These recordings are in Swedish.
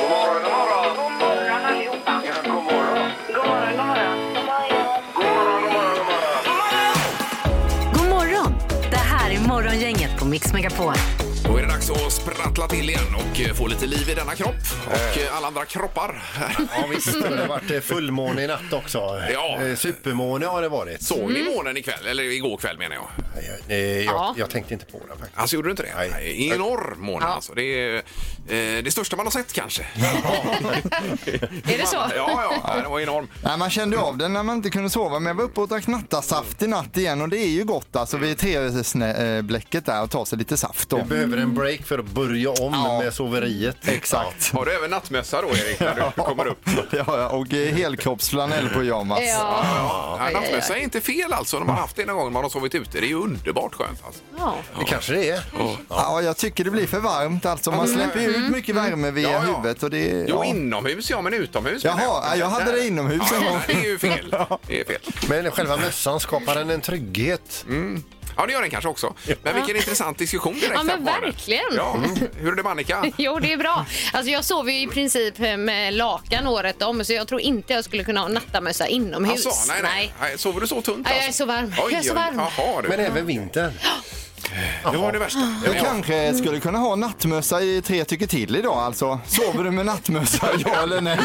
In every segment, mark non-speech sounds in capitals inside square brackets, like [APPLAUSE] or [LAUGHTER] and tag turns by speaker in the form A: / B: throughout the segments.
A: God morgon, god morgon.
B: God morgon allihopa.
A: Ja, god morgon.
B: God morgon, god morgon.
A: God morgon, god morgon,
C: God
A: god morgon.
C: morgon! Det här är Morgongänget på Mix Megapol.
D: Då är det dags att sprattla till igen och eh, få lite liv i denna kropp och eh, alla andra kroppar. [LAUGHS]
E: Ja visst,
F: Mm.
E: det har varit eh, fullmåne i natt också.
D: Ja.
E: Eh, Supermåne har det varit.
D: Såg ni
F: Mm.
D: månen ikväll? Eller igår kväll menar jag.
E: Eh, Jag,
G: Ja.
E: jag tänkte inte på det faktiskt.
D: Alltså gjorde du inte det?
E: Nej.
D: Enorm måne alltså. Det är eh, det största man har
F: [LAUGHS]
D: sett kanske.
G: Är det så?
D: Ja, ja, ja, den var enorm.
F: Nej, man kände av den när man inte kunde sova, men jag var uppe och drack nattasaft i natt igen och det är ju gott alltså vid tv-bläcket eh, där och ta sig lite saft då.
E: Vi behöver en break för att börja om
F: Ja.
E: med soveriet.
F: Exakt. [LAUGHS]
D: Har du även nattmössa då Erik när du kommer upp?
F: Ja, ja, och eh, helkroppsflanell på Jomas.
G: Ja.
D: Ja, nattmössa är inte fel alltså när man har haft det någon gång när man har sovit ute. Det är ju underbart skönt alltså.
G: ja.
E: Det kanske det är.
F: Ja, jag tycker det blir för varmt alltså. Man släpper ju ut mycket värme via
D: Ja, ja.
F: huvudet och det...
D: Jo,
F: ja.
D: inomhus ja, men utomhus
F: Jaha,
D: menar
F: ja, jag hade det inomhus en gång.
D: Ja, det är
F: [LAUGHS]
D: ju fel. Det är fel.
E: Men själva mössan skapar en, en trygghet.
F: Mm.
D: Ja, det gör den kanske också. Men vilken intressant diskussion direkt.
G: Ja, men
D: här på morgonen.
G: verkligen.
D: Ja. mm. Hur är det
G: [LAUGHS]
D: med Annika?
G: Jo, det är bra. Alltså, jag sover ju i princip eh, med lakan året om så jag tror inte jag skulle kunna ha nattamössa inomhus.
D: Alltså, nej, nej. nej. Sover du så tunt? alltså?
G: Nej, jag är så varm. Jag är så varm.
D: Jaha, du.
E: Men även vintern.
D: det var det värsta.
F: Du
D: Men ja.
F: kanske skulle kunna ha nattmössa i tre tycker till idag alltså. Sover du med nattmössa, [LAUGHS] ja eller nej?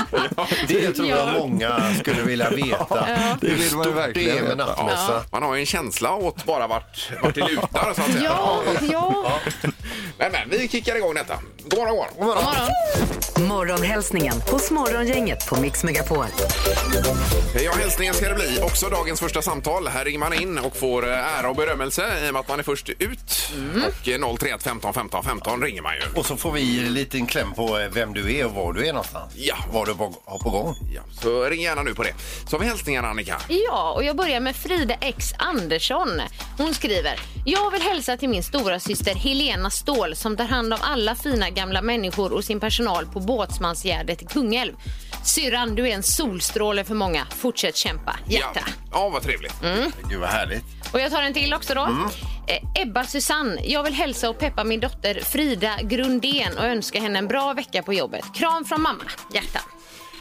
E: Det tror jag många skulle vilja veta.
F: Det vill man ju
E: Det är
F: verkligen
E: med
F: veta.
E: nattmössa.
D: Man har ju en känsla åt bara vart, vart det lutar så att säga.
G: Ja, ja.
D: [LAUGHS] Men, men vi kickar igång detta. God morgon, god morgon.
G: God morgon.
C: Morgonhälsningen hos Morgongänget på Mix Megapol.
D: Ja, hälsningen ska det bli. Också dagens första samtal. Här ringer man in och får eh, ära och berömmelse i och med att man är först ut.
G: Mm.
D: Och eh, 031 15 15 15 ringer man ju.
E: Och så får vi en liten kläm på eh, vem du är och var du är någonstans.
D: Ja.
E: Vad du på- har på gång.
D: Ja, så ring gärna nu på det. Så har vi hälsningar Annika.
G: Ja, och jag börjar med Frida X Andersson. Hon skriver. Jag vill hälsa till min stora syster Helena Ståhl som tar hand om alla fina gamla människor och sin personal på Båtsmansgärdet i Kungälv. Syrran, du är en solstråle för många. Fortsätt kämpa. Hjärta.
D: Ja, ja vad trevligt.
E: Gud vad härligt.
G: Och jag tar en till också då. Eh, Ebba Susanne, jag vill hälsa och peppa min dotter Frida Grundén och önska henne en bra vecka på jobbet. Kram från mamma. Hjärta.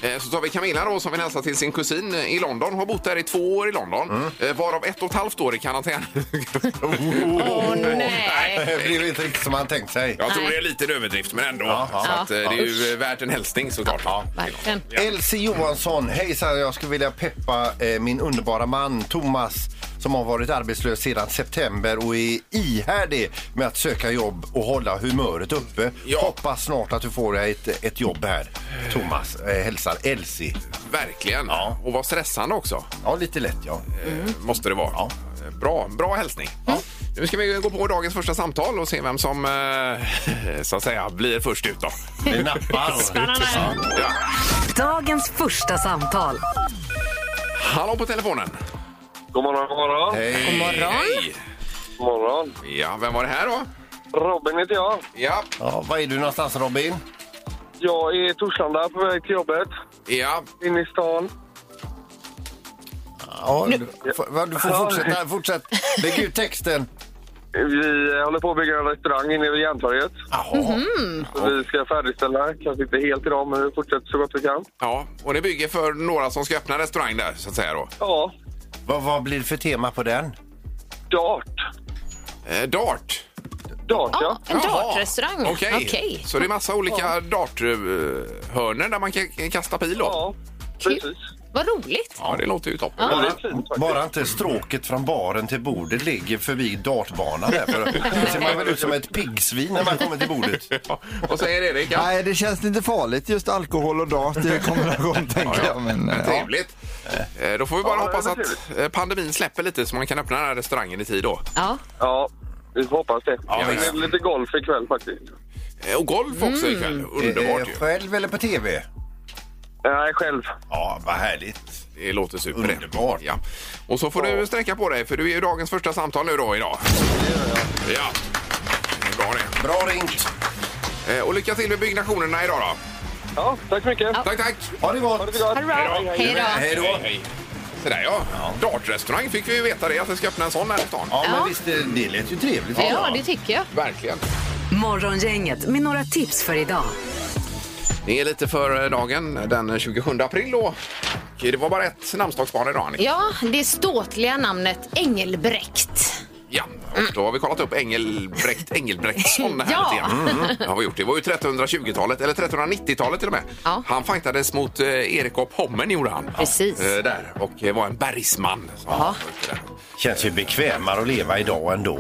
D: Eh, Så tar vi Camilla då som vill hälsa till sin kusin eh, i London. Har bott där i två år i London. Eh, Varav ett och ett halvt år i karantän.
E: [LAUGHS]
D: [LAUGHS]
G: Åh nej.
E: Det blev inte riktigt som man tänkt sig.
D: Jag tror
G: Nej.
D: det är lite en överdrift men ändå.
E: ja.
D: Så att, eh, det är ju eh, värt en hälsning såklart. Ja.
G: Verkligen.
E: Elsie Johansson, hejsan, jag skulle vilja peppa eh, min underbara man Thomas som har varit arbetslös sedan september och är ihärdig med att söka jobb och hålla humöret uppe.
D: Ja.
E: Hoppas snart att du får dig ett, ett jobb här. Thomas eh, hälsar Elsie.
D: Verkligen. Och vad stressande också.
E: Ja, lite lätt ja.
D: Eh, Måste det vara. Eh, Bra, bra hälsning. Mm. Nu ska vi gå på dagens första samtal och se vem som eh, [LAUGHS] så att säga blir först ut då.
E: Vi nappar.
D: Ja.
C: Dagens första samtal.
D: Hallå på telefonen.
A: God morgon, god morgon.
E: Hej.
D: God morgon. Hej.
A: God morgon.
D: Ja, vem var det här då?
A: Robin heter jag.
D: Ja,
E: Ja, var är du någonstans Robin?
A: Jag är i Torslanda på väg till jobbet.
D: ja.
A: In i stan.
E: Ja, du, f- va, du får fortsätta. Fortsätt. Lägg ut texten.
A: Vi eh, håller på att bygga en restaurang inne vid Järntorget.
E: Jaha.
A: Så Vi ska färdigställa, kanske inte helt idag, men vi fortsätter så gott vi kan.
D: Ja, och det bygger för några som ska öppna restaurang där så att säga då.
A: Ja,
E: Vad, vad blir det för tema på den?
A: dart.
D: Eh, dart.
A: Dart, ja.
G: Ja, en
D: Jaha.
G: dartrestaurang.
D: Okej.
G: Okej.
D: Så det är massa olika darthörnor där man kan kan kasta pil då?
A: Ja, precis.
G: Vad roligt.
D: Ja, det låter ju toppen.
A: Väldigt fint faktiskt.
E: Bara inte stråket från baren till bordet ligger förbi dartbanan där. För då ser man väl ut som ett piggsvin när man kommer till bordet.
D: Ja. Vad säger Erik? Ja.
F: Nej, det känns lite farligt just alkohol och dart i kombination tänker jag. Men, eh, ja.
D: Trevligt. Eh, Då får vi bara
A: Ja,
D: hoppas
A: det är
D: att eh, pandemin släpper lite så man kan öppna den här restaurangen i tid då.
G: Ja.
A: Ja, vi får hoppas det.
D: Ja,
A: det
D: visst.
A: är lite golf ikväll faktiskt.
D: Eh, Och golf också ikväll. [LAUGHS] Underbart
E: Eh,
D: ju.
E: Själv eller på tv?
A: Nej, själv.
E: Ja, vad härligt.
D: Det låter super. det.
E: Underbart.
D: Ja. Och så får du sträcka på dig för du är ju dagens första samtal nu då idag. Ja. Det är Bra det.
E: Bra ringt.
D: Eh, Och lycka till med byggnationerna idag då.
A: Ja, tack så mycket.
D: Tack, tack!
E: Ha det
A: Ha det
E: gott.
A: så
G: Ha
A: gott.
G: det bra. Hej då.
E: Hej då.
D: Så där ja. Dartrestaurang fick vi ju veta det, att det ska öppna en sån här i stan.
E: Ja,
G: Ja.
E: men visst, det det lät ju trevligt.
G: Ja, det tycker jag.
D: Verkligen.
C: Morgongänget med några tips för idag.
D: Det är lite för eh, dagen den 27 april då. Och Det var bara ett namnsdagsbarn idag Annika.
G: Ja, det ståtliga namnet Engelbrekt.
D: Ja, och då har vi kollat upp Engelbrekt Engelbrektsson här
G: Ja. Mm.
D: lite grann. [LAUGHS] Det har vi gjort. Det var ju 1320-talet, eller 1390-talet till och med.
G: Ja.
D: Han fightades mot eh, Erik och Pommen gjorde han.
G: Precis.
D: Eh, där. Och eh, var en bergsman. Så.
G: Ja.
E: Känns ju bekvämare att leva idag ändå.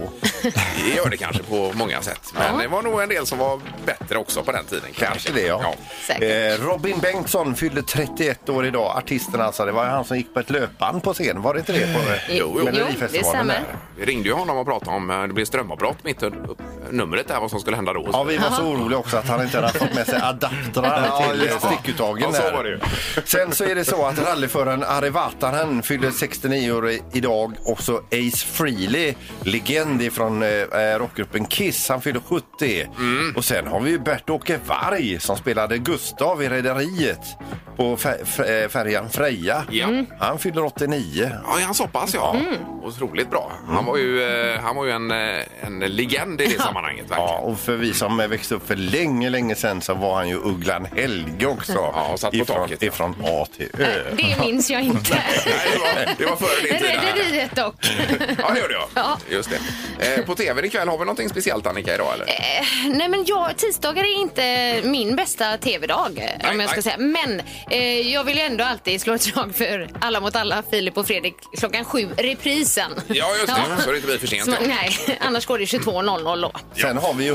D: Det gör det kanske på många sätt. Men det var nog en del som var bättre också på den tiden.
E: Kanske det, ja.
G: Säkert.
E: Eh, Robin Bengtsson fyllde 31 år idag. Artisten alltså. Det var ju han som gick på ett löpband på scen. Var det inte det? På
G: Jo, jo.
E: Melodifestivalen
G: det stämmer.
E: där?
D: Vi ringde ju honom och pratade om eh, det blev strömavbrott mitt under upp- numret där, vad som skulle hända då.
E: Ja, vi var så oroliga också att han inte hade fått med sig adaptrar
F: Ja,
E: till
F: just det.
E: stickuttagen.
D: Ja, så
E: där.
D: var det ju.
E: Sen så är det så att rallyföraren Arivatanen fyller 69 år i- idag och så Ace Frehley, legend från rockgruppen Kiss, han fyller 70.
D: Mm.
E: Och sen har vi ju Bert-Åke Varg som spelade Gustav i Rederiet på fär- fär- eh, färjan Freja.
D: Ja.
E: Han fyller 89.
D: Ja, är han så pass ja.
E: Mm.
D: Otroligt bra. Han var ju, eh, han var ju en, eh, en legend i det sammanhanget.
E: [LAUGHS]
D: Verkligen.
E: Ja, och för vi som växte upp för länge, länge sedan så var han ju Ugglan Helge också.
D: Ja, och satt på
E: ifrån,
D: taket.
E: Ifrån A till Ö.
G: Det minns jag inte.
D: Nej, det, var, det var före din tid. här.
G: Rederiet dock.
D: Ja, det gjorde jag.
G: Ja.
D: Just det. Eh, på tv ikväll, har vi någonting speciellt Annika idag eller?
G: Nej, men jag, tisdagar är inte min bästa tv-dag. om jag ska
D: nej.
G: säga. Men eh, jag vill ju ändå alltid slå ett slag för Alla mot alla, Filip och Fredrik, klockan sju, reprisen.
D: Ja, just det. Så det inte blir för sent,
G: Så-
D: ja.
G: Nej, annars går det 22.00 då.
E: Sen har vi ju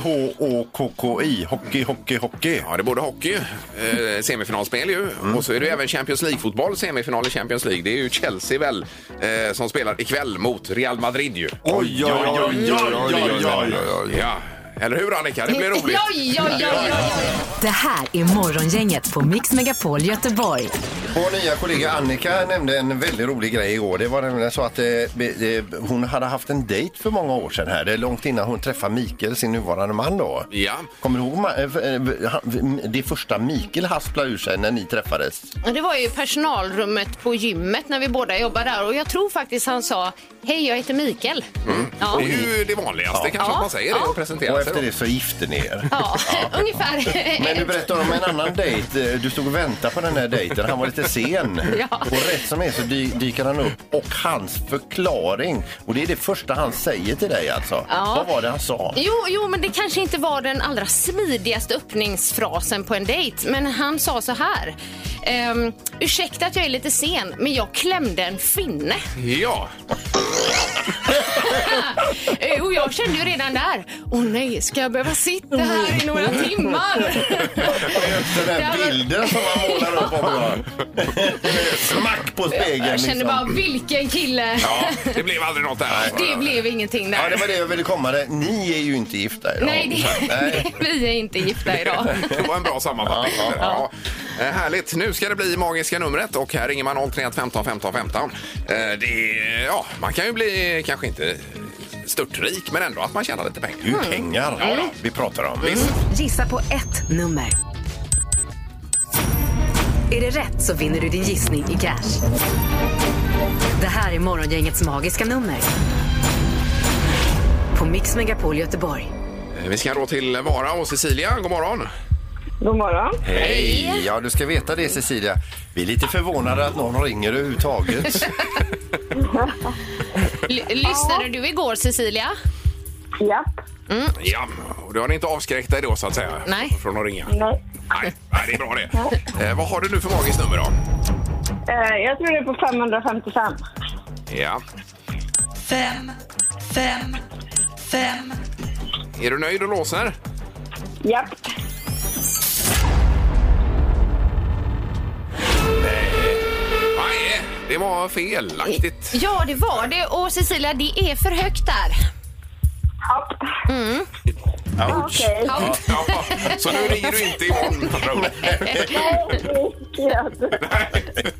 E: H-O-K-K-I, hockey, hockey, hockey.
D: Ja, det är både hockey, eh, semifinalspel ju. Och så är det ju även Champions League-fotboll, semifinal i Champions League. Det är ju Chelsea väl eh, som spelar ikväll mot Real Madrid ju.
F: Oj, oj, oj, oj, oj, oj, oj.
D: Ja, eller hur
G: [LAUGHS]
D: Annika? Det blir roligt.
G: Oj, oj, oj, oj, oj.
C: Det här är Morgongänget på Mix Megapol Göteborg.
E: Vår nya kollega Annika nämnde en väldigt rolig grej igår. Det var nämligen så att eh, be- eh, hon hade haft en dejt för många år sedan här. Det är långt innan hon träffade Mikael, sin nuvarande man då.
D: Ja.
E: Kommer du ihåg ma- eh, eh, han- det första Mikael hasplade ur sig när ni träffades?
G: Och Det var ju personalrummet på gymmet när vi båda jobbade där och jag tror faktiskt han sa Hej, jag heter Mikael.
D: Mm.
G: Ja.
D: Det är ju det vanligaste kanske
G: Ja.
D: att man säger det och presenterar
E: Och
D: sig.
E: efter
D: då.
E: det så gifte ni er.
G: Ja, [LAUGHS] ungefär.
E: Men du berättade om en annan dejt. Eh, Du stod och väntade på den här dejten. Han var lite sen.
G: [LAUGHS] Ja.
E: Och rätt som är så dy- dyker han upp och hans förklaring. Och det är det första han säger till dig alltså.
G: Ja.
E: Vad var det han sa?
G: Jo, jo, men det kanske inte var den allra smidigaste öppningsfrasen på en dejt. Men han sa så här. Ehm, ursäkta att jag är lite sen, men jag klämde en finne.
D: Ja,
G: Eh, Och jag kände ju redan där, åh nej, ska jag behöva sitta här i några
E: [LAUGHS]
G: timmar?
E: Den
G: Det
E: här
G: här var-
E: bilden som han målar upp av
G: [LAUGHS]
E: mig. Smack på spegeln.
G: Jag kände
E: liksom.
G: bara, vilken kille!
D: ja, det blev aldrig något där. alltså.
G: Det blev ingenting
E: Ja, det
G: där.
E: var det jag ville komma där. Ni är ju inte gifta idag.
G: Nej, det, [LAUGHS] Mm.
E: Nej.
G: vi är inte gifta idag.
D: [LAUGHS] Det var en bra sammanfattning. Ja, Eh, Härligt. Nu ska det bli magiska numret och här ringer man 031 15 15 15. Eh, Det, är- ja, man kan ju bli, kanske inte störtrik, men ändå att man tjänar lite pengar.
E: Det är ju pengar vi pratar
G: Mm.
E: om.
C: Gissa på ett nummer. Är det rätt så vinner du din gissning i cash. Det här är Morgongängets magiska nummer. På Mix Megapol Göteborg.
D: Eh, Vi ska då till Vara och Cecilia. God morgon.
B: God morgon.
E: Hej! Ja, du ska veta det Cecilia. Vi är lite förvånade att någon ringer
G: [LAUGHS]
E: överhuvudtaget.
G: L- lyssnade du igår, Cecilia?
B: Japp.
D: Ja, och du har inte avskräckt dig då så att säga?
G: Nej.
D: Från att ringa?
B: Nej.
D: Nej, nej, det är bra det. Eh, Vad har du nu för magiskt nummer då?
B: Eh, jag tror det är på 555.
D: Ja.
H: fem, fem, fem.
D: Är du nöjd och låser?
B: Japp.
D: Nej, det var felaktigt.
G: Ja, det var det. Och Cecilia, det är för högt där.
B: Japp. Okej.
G: Ja.
D: Ja, så nu ringer du inte imorgon? med andra ord. [LAUGHS]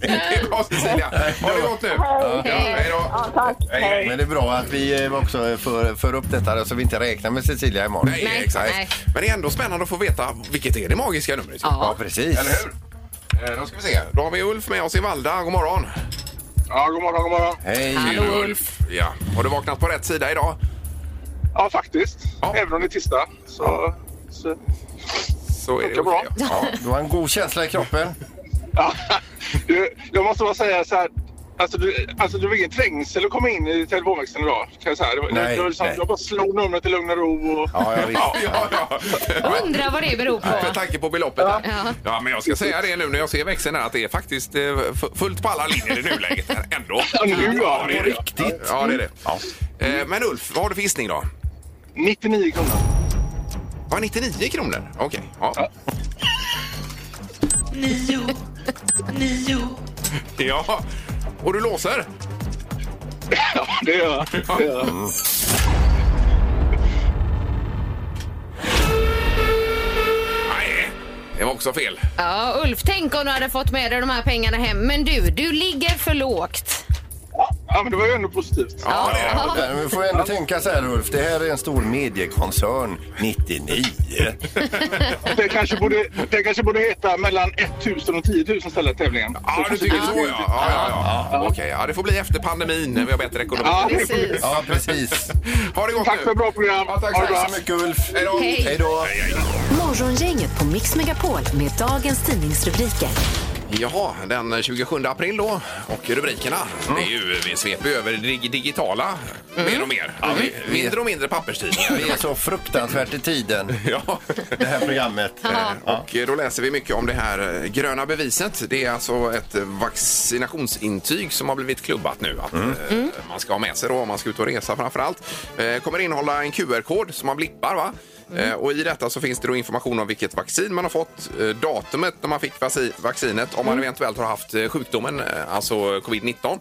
D: Det var Cecilia. Ha det gott nu. Ja, hej då.
B: Ja, tack. Hej.
E: Men det är bra att vi eh, också för, för upp detta så vi inte räknar med Cecilia imorgon.
D: Nej,
G: Nej,
D: exakt.
G: nej.
D: Men det är ändå spännande att få veta vilket är det magiska numret.
E: Ja, precis.
D: Eller hur? Eh, Då ska vi se. Då har vi Ulf med oss i Valda. God morgon.
I: Ja, god morgon, god morgon.
E: Hej.
G: Hallå, Ulf.
D: Ja. Har du vaknat på rätt sida idag?
I: Ja, faktiskt.
D: Ja.
I: Även om det är tisdag. Så, så
D: så är det
I: Funkar bra.
D: okej. ja.
I: [LAUGHS]
E: Ja, du har en god känsla i kroppen.
I: Ja, du, jag måste bara säga så här. Alltså, du, alltså, det var ingen trängsel att komma in i telefonväxeln idag. Kan jag, säga. Det var,
E: Nej,
I: det var liksom,
E: nej.
I: jag bara slog numret i lugn och ro. Och,
E: Ja, ja, visst.
D: Ja, ja, ja.
G: Undrar vad det beror på.
D: Med tanke på beloppet. här.
G: Ja.
D: Ja, men jag ska säga det nu när jag ser växeln här att det är faktiskt eh, fu- fullt på alla linjer i nuläget här ändå.
I: Ja, nu, ja. Mm.
D: det är det. Ja, det är det. Eh, Men Ulf, vad har du för gissning då?
I: 99 kronor.
D: Ja, 99 kronor. Okej. Ja.
H: nio, nio,
D: ja. Och du låser?
I: Ja, det gör jag. Det gör jag.
D: Nej, det var också fel.
G: Ja, Ulf, tänk om du hade fått med dig de här pengarna hem. Men du, du ligger för lågt.
I: Ja, men det var ju ändå positivt.
D: Ja, det är det.
G: Ja.
E: Men vi Eh, får ändå tänka så här Ulf, det här är en stor mediekoncern, 99.
I: Det kanske borde, det kanske borde heta mellan 1000 och 10 000 istället, tävlingen.
D: Ja, du
I: kanske
D: tycker
I: det-
D: så ja. ja, ja, ja. Okej, ja, det får bli efter pandemin när vi har bättre ekonomi.
I: Ja,
G: Precis.
E: Ja, precis.
D: Ha det gott
I: Tack
D: nu.
I: för ett bra program.
D: Ja, tack
I: Ha
D: så
I: det bra.
E: Tack så mycket Ulf.
D: Hej då.
G: Hej.
E: Hej då.
D: Hej, hej.
C: Morgongänget på Mix Megapol med dagens tidningsrubriker.
D: Jaha, den 27 april då och rubrikerna. Det är ju, vi sveper ju över det dig- digitala mer och mer. Ja, vi- Mindre och mindre papperstidningar.
E: Vi är så fruktansvärt i tiden,
D: Ja.
E: det här programmet. Eh,
D: Eh, Och då läser vi mycket om det här eh, gröna beviset. Det är alltså ett eh, vaccinationsintyg som har blivit klubbat nu. Att eh, Man ska ha med sig då om man ska ut och resa framför allt. Eh, kommer innehålla en QR-kod som man blippar. Va? Eh, och I detta så finns det då information om vilket vaccin man har fått, eh, datumet när man fick vaci- vaccinet, om man eventuellt har haft eh, sjukdomen, eh, alltså covid-19,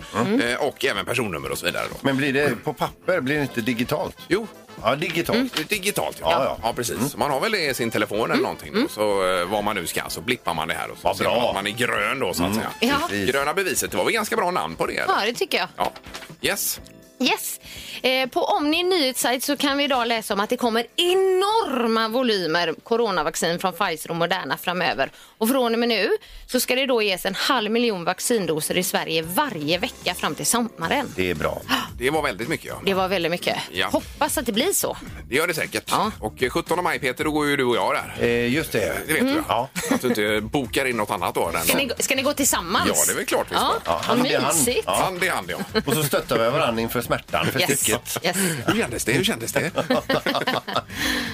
D: eh, och även personnummer och så vidare. Då.
E: Men blir det på papper? Blir det inte digitalt?
D: Jo,
E: Ja, digitalt.
G: Mm.
D: Digitalt,
E: Ja,
D: ja.
E: ja.
D: ja. precis. Man har väl det i sin telefon eller någonting.
G: Mm.
D: Då, så eh, vad man nu ska, så blippar man det här och så
E: Vad
D: ser
E: bra.
D: man att man är grön då så att säga.
G: Ja.
D: Gröna beviset, det var väl ganska bra namn på det? eller?
G: ja, det tycker jag.
D: Ja. Yes.
G: Yes. Eh, på Omni nyhetssajt så kan vi idag läsa om att det kommer enorma volymer coronavaccin från Pfizer och Moderna framöver. Och från och med nu så ska det då ges en halv miljon vaccindoser i Sverige varje vecka fram till sommaren.
E: Det är bra.
D: Det var väldigt mycket. Ja.
G: Det var väldigt mycket.
D: Ja.
G: Hoppas att det blir så.
D: Det gör det säkert.
G: Ja.
D: Och eh, 17 maj, Peter, då går ju du och jag där.
E: Eh, just det.
D: Det vet du,
E: Ja.
D: ja. Att du inte bokar in något annat då. Den
G: Ska ni, ska ni gå tillsammans?
D: Ja, det är väl klart vi ska.
G: Ja,
E: Ja,
G: vad
E: hand i hand.
G: mysigt.
E: Ja.
D: Hand i hand, ja.
E: Och så stöttar vi varandra inför smärtan för
G: Yes.
E: sticket.
G: Yes.
D: Hur kändes det? Hur kändes det?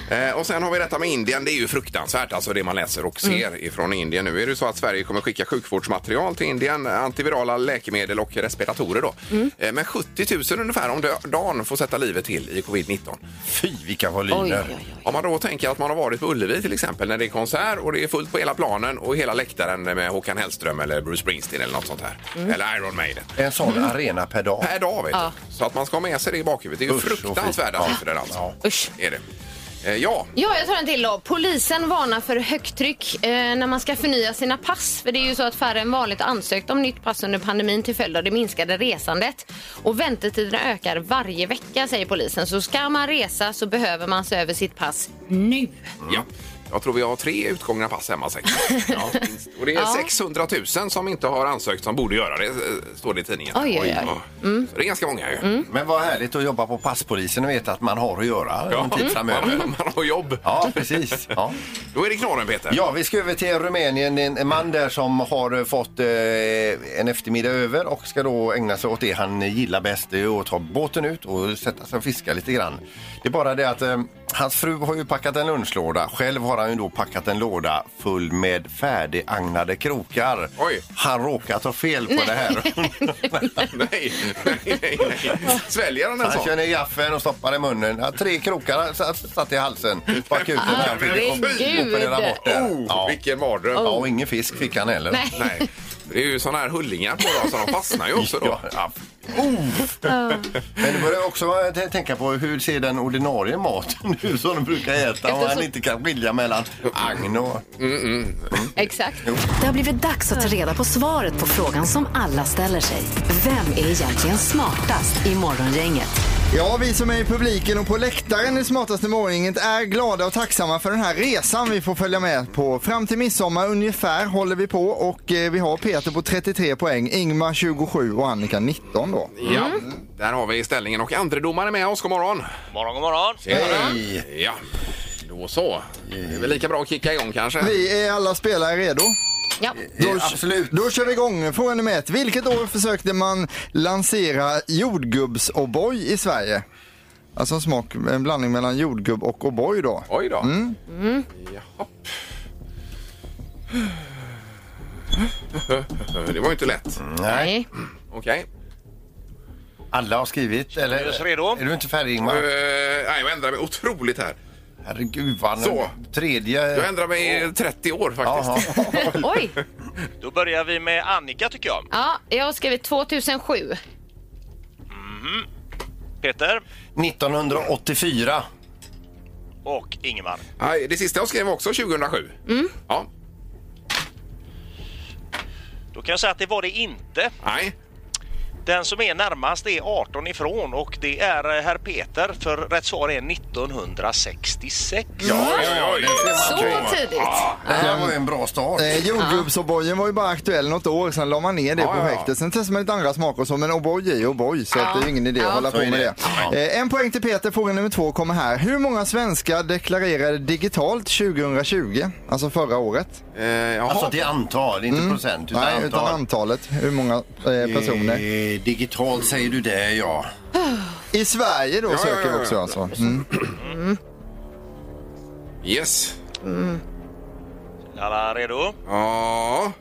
D: eh, och sen har vi detta med Indien. Det är ju fruktansvärt, alltså det man läser och ser ifrån Indien. Nu är det ju så att Sverige kommer skicka sjukvårdsmaterial till Indien, antivirala läkemedel och respiratorer då. Eh, men 70 000 ungefär om dö- dagen får sätta livet till i covid-19.
E: Fy, vilka
G: Oj,
E: volymer.
G: oj, oj.
D: Om man då tänker att man har varit på Ullevi till exempel när det är konsert och det är fullt på hela planen och hela läktaren med Håkan Hellström eller Bruce Springsteen eller något sånt här. Eller Iron Maiden.
E: En sån
G: Mm.
E: arena per dag.
D: Per dag vet
G: Ja.
D: du. Så att man ska ha med sig det i bakhuvudet. Det är ju
E: Usch, så fint.
D: fruktansvärda
E: Ja.
D: siffror alltså.
G: Usch.
D: Är det. Eh, ja,
G: Ja, jag tar en till då. Polisen varnar för högtryck eh, när man ska förnya sina pass. För det är ju så att färre än vanligt ansökt om nytt pass under pandemin till följd av det minskade resandet. Och väntetiderna ökar varje vecka, säger polisen. Så ska man resa så behöver man se över sitt pass nu.
E: Mm.
D: ja. Jag tror vi har tre utgångna pass
G: [LAUGHS]
D: hemma säkert. Ja, minst. och det är 600 000 som inte har ansökt som borde göra det, eh, står det i tidningen.
G: Oj, Mm. oj, oj.
D: Ja. Så det är ganska många ju.
E: Men vad härligt att jobba på passpolisen och veta att man har att göra en tid framöver.
D: man, man har jobb.
E: Ja, precis. Ja.
D: Då är det knorren, Peter.
E: Ja, vi ska över till Rumänien. Det är En man där som har eh, fått eh, en eftermiddag över och ska då ägna sig åt det han gillar bäst. Det är att ta båten ut och sätta sig och fiska lite grann. Det är bara det att eh, hans fru har ju packat en lunchlåda. Själv har han ju då packat en låda full med färdigagnade krokar.
D: Oj.
E: Han råkar ta fel på det här.
D: [LAUGHS] Nej, nej, nej. nej. Sväljer han en
E: Han
D: sån?
E: kör ner gaffeln och stoppar i munnen. Ja, Tre krokar s- satt i halsen på akuten. när han fick
G: Herregud.
E: operera bort det.
D: Oh,
E: Ja.
D: Vilken mardröm.
E: ja, och ingen fisk fick han heller.
G: Nej.
D: Nej. Det är ju såna här hullingar på dem, så de fastnar ju också då.
E: Ja, ja. Men du börjar också t- tänka på hur ser den ordinarie maten [LAUGHS] ut som de brukar äta och han
G: Eftersom-
E: inte kan skilja mellan agn och...
G: [LAUGHS] Exakt.
C: Det har blivit dags att ta reda på svaret på frågan som alla ställer sig. Vem är egentligen smartast i Morgongänget?
F: Ja, vi som är i publiken och på läktaren i Smartaste Morgongänget är glada och tacksamma för den här resan vi får följa med på. Fram till midsommar ungefär håller vi på och eh, vi har Peter på 33 poäng, Ingmar 27 och Annika 19 då.
D: Ja, där har vi ställningen och andredomaren är med oss. God morgon!
J: morgon, god morgon.
E: Hej!
D: Ja. Då så. Det är väl lika bra att kicka igång kanske.
F: Vi är alla spelare redo.
G: Ja.
F: Då,
E: absolut.
F: då kör vi igång. Fråga nummer ett. Vilket år försökte man lansera jordgubbs-O'boy i Sverige? Alltså en smak, en blandning mellan jordgubb och O'boy då.
D: Oj då. Mm. Jaha. Det var ju inte lätt.
G: Nej.
D: Okej.
E: Alla har skrivit, eller?
J: Är du redo?
E: Är du inte färdig,
D: Eh,
E: Ingmar?
D: nej, jag ändrar mig otroligt här.
E: Herregud, vad...
D: Så.
E: Tredje...
D: Jag ändrar mig i 30 år
E: Jaha.
D: faktiskt.
G: Oj!
J: Då börjar vi med Annika tycker jag.
G: Ja, jag har skrivit 2007.
J: Peter
E: 1984.
J: och Ingemar.
D: Nej, det sista jag skrev var också 2007. Ja.
J: Då kan jag säga att det var det inte.
D: Nej.
J: Den som är närmast är 18 ifrån och det är eh, herr Peter för rätt svar är 1966.
D: Oj, oj, oj.
G: Så typ. tidigt.
E: Det här var ju en bra start.
F: Eh, Jordgubbs-O'boyen var ju bara aktuell något år, sen la man ner det
D: Ja, ja, ja.
F: projektet. Sen testade man lite andra smaker och så, men O'boy är ju O'boy så att det är ju ingen idé att hålla på
E: Så är
F: med det.
E: det.
F: Eh, en poäng till Peter, fråga nummer två kommer här. Hur många svenskar deklarerade digitalt 2020? Alltså förra året?
D: Eh, jaha.
E: Alltså det är antal, inte procent, utan
F: Mm. Nej,
E: antal.
F: utan antalet. Hur många eh, personer?
E: Eh, Digitalt säger du det, ja.
F: I Sverige då
D: ja,
F: söker
D: ja,
F: vi också
D: ja.
F: alltså. Mm.
D: Yes.
J: Alla redo?
D: Ja.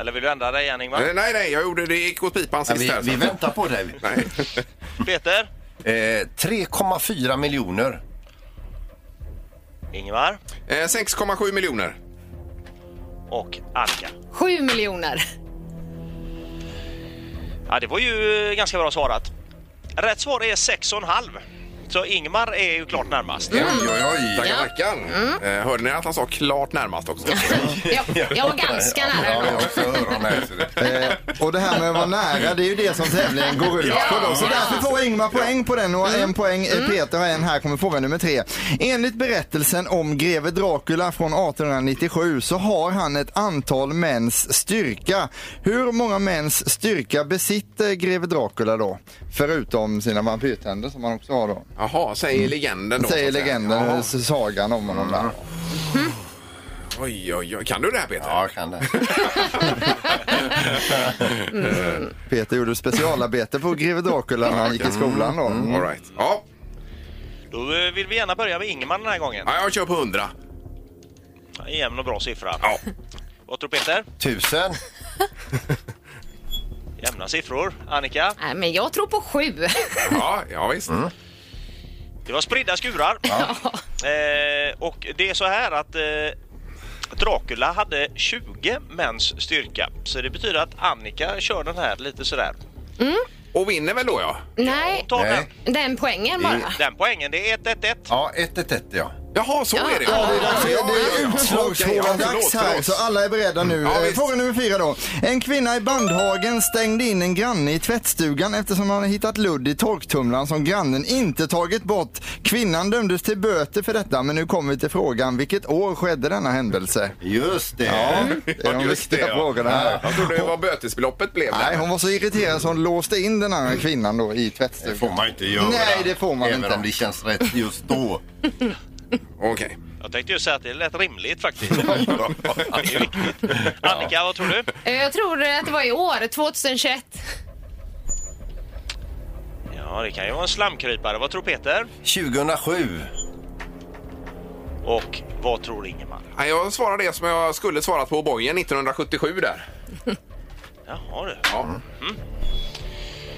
J: Eller vill du ändra dig igen Ingmar?
D: Eh, Nej, nej, jag gjorde det. Det gick åt pipan
E: Ja,
D: sist
E: Vi,
D: här. så
E: vi
D: att-
E: väntar på dig.
D: Nej.
J: Peter?
E: Eh, 3,4 miljoner.
D: Mm.
J: Ingemar?
D: Eh, 6,7 miljoner.
J: Och Annika.
G: 7 miljoner.
J: Ja, det var ju eh, ganska bra svarat. Rätt svar är 6,5. Så Ingmar är ju klart närmast.
D: Oj, oj, oj. Tackar, tackar.
F: Mm.
D: Eh, hörde ni att han sa klart närmast också?
G: [LAUGHS] Ja, jag var ganska
E: Ja,
G: nära.
E: jag har också öron här. så det-
F: Eh, och det här med att vara nära, det är ju det som tävlingen går ut på då. Så därför får Ingmar poäng på den och
D: Mm.
F: en poäng eh, Peter och en här kommer fråga nummer tre. Enligt berättelsen om greve Dracula från 1897 så har han ett antal mäns styrka. Hur många mäns styrka besitter greve Dracula då? Förutom sina vampyrtänder som han också har då.
D: Jaha, säger legenden då. så
F: Säger
D: att säga. Mm.
F: legenden,
D: Jaha.
F: eh, sagan om honom där.
D: Oj, oj, oj. Kan du det här Peter?
E: Ja, jag kan det.
F: Peter gjorde specialarbete på greve Dracula när han gick i skolan då.
D: All right. Ja.
J: Då eh, vill vi gärna börja med Ingemar den här gången.
D: ja, jag kör på 100.
J: Jämn och bra siffra.
D: Ja.
J: Vad tror Peter?
E: Tusen.
J: Jämna siffror. Annika?
G: Nej, men jag tror på [LAUGHS] 7.
D: Ja, ja visst.
F: Mm.
J: Det var spridda skurar. [LAUGHS] Eh, och det är så här att eh, Dracula hade 20 mäns styrka. Så det betyder att Annika kör den här lite sådär.
D: Och vinner väl då ja?
G: Nej,
J: Hon tar
E: Nej.
J: den.
G: den poängen bara.
J: Den poängen, det är 1-1-1.
E: Ja, 111 ja.
D: Jaha, så är det
F: Ja, det är
D: Ja,
F: dags. Det är
D: ja, ja, ja. Okej, ja, förlåt,
F: utslagsfrågan-dags här,
D: förlåt.
F: så alla är beredda nu.
D: Ja,
F: Eh,
D: visst.
F: Fråga nummer fyra då. En kvinna i Bandhagen stängde in en granne i tvättstugan eftersom han hade hittat ludd i torktumlaren som grannen inte tagit bort. Kvinnan dömdes till böter för detta, men nu kommer vi till frågan. Vilket år skedde denna händelse?
E: Just det.
D: [LAUGHS]
F: Det är de
D: Just det,
F: viktiga
D: ja.
F: frågorna här.
D: Jag trodde det var bötesbeloppet blev där.
F: Nej, hon var så irriterad så hon låste in den andra kvinnan då i
E: Det får
F: tvättstugan.
E: man inte göra.
F: Nej, det får man
E: Även
F: inte.
E: om det känns rätt just då.
D: Okej.
J: Jag tänkte ju säga att det lät rimligt faktiskt. Det är viktigt. Annika, vad tror du?
G: Eh, Jag tror att det var i år, 2021.
J: Ja, det kan ju vara en slamkrypare. Vad tror Peter?
E: 2007.
J: Och vad tror Ingemar?
D: Nej, Jag svarar det som jag skulle svarat på O'boyen 1977 där.
J: Jaha du.
D: Ja.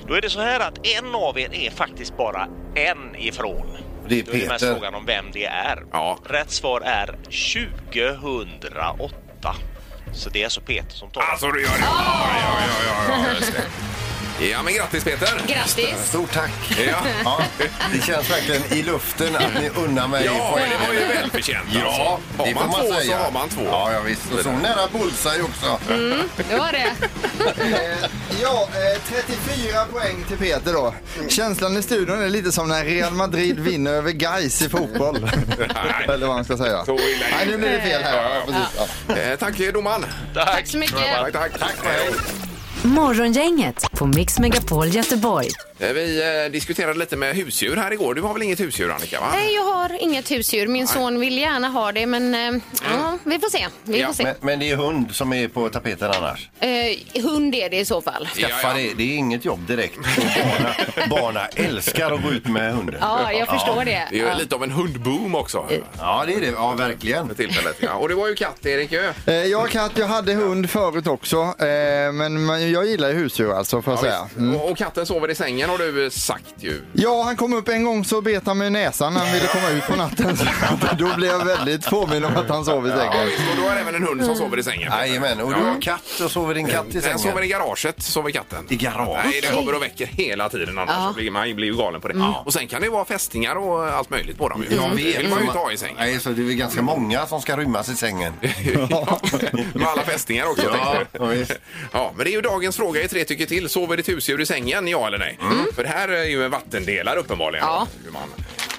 J: Då är det så här att en av er är faktiskt bara en ifrån.
E: Det är
J: Då är det mest
E: Peter.
J: frågan om vem det är.
D: Ja.
J: Rätt svar är 2008. Så det är alltså Peter som tar
D: Alltså du gör det. Ja, ja, ja, ja, ja, just det. Ja, men grattis Peter.
G: Grattis!
E: Stort tack.
D: Ja,
E: Ja, det känns verkligen i luften att ni unnar mig
D: ja men
E: poängen.
D: det var ju välförtjänt
E: Ja,
D: alltså.
E: det
D: Har
E: får
D: man
E: man
D: två så
E: säga.
D: har man två.
E: Ja, ja visst. Och så nära bullseye också.
G: Det var det.
F: Eh, Ja, eh, 34 poäng till Peter då. Känslan i studion är lite som när Real Madrid vinner över Gais i fotboll. Eller vad man ska säga.
D: Så illa
F: Nej, nu blir det fel här.
D: Ja, ja.
F: Precis, ja.
D: Eh, tack domaren.
G: Tack så mycket.
D: Tack, tack. tack.
C: Morgongänget på Mix Megapol Göteborg.
D: Eh, Vi eh, diskuterade lite med husdjur här igår. Du har väl inget husdjur Annika? Va?
G: Nej, jag har inget husdjur. Min son vill gärna ha det, men eh, ja, vi får se. Vi får se.
E: Men, men det är hund som är på tapeten annars.
G: Eh, hund är det i så fall.
E: Skaffa det. Det är inget jobb direkt. Barna, barna älskar att gå ut med hunden.
G: Ja, jag förstår det.
D: Det är ju
G: Ja.
D: lite av en hundboom också.
E: Ja, det är det. Ja, verkligen.
D: För tillfället, ja. Och det var ju katt, Erik. ju.
F: Eh, Jag har katt, jag hade hund förut också. eh, Men man- jag gillar ju husdjur alltså får jag säga.
D: visst.
G: Mm.
D: Och, och katten sover i sängen har du eh, sagt ju.
F: Ja, han kom upp en gång så bet han mig i näsan när han ville komma ut på natten. [LAUGHS] Så Då blev jag väldigt påminn om att han sov i
D: Ja,
F: sängen.
D: visst, och du har även en hund som sover i sängen.
E: Jajamän, och du har katt och sover din katt i
D: Den sover i
E: sängen.
D: garaget, sover katten.
E: I garaget?
D: Nej, den kommer och väcker hela tiden annars
G: Ja.
D: så blir man blir ju galen på det. Och sen kan det ju vara fästingar och allt möjligt på dem ju.
E: Jag
D: Det
E: vet,
D: Mm. vill man ju
E: man-
D: inte ha i sängen.
E: Nej, så det är väl ganska många som ska rymmas i sängen.
D: [LAUGHS] Ja. Med alla fästingar också.
E: Ja,
D: tänkte du.
E: ja, visst.
D: ja, men det är ju dagens fråga i Tre tycker till. Sover ditt husdjur i sängen, ja eller nej? För det här är ju en vattendelare uppenbarligen.
G: Ja.
D: Hur man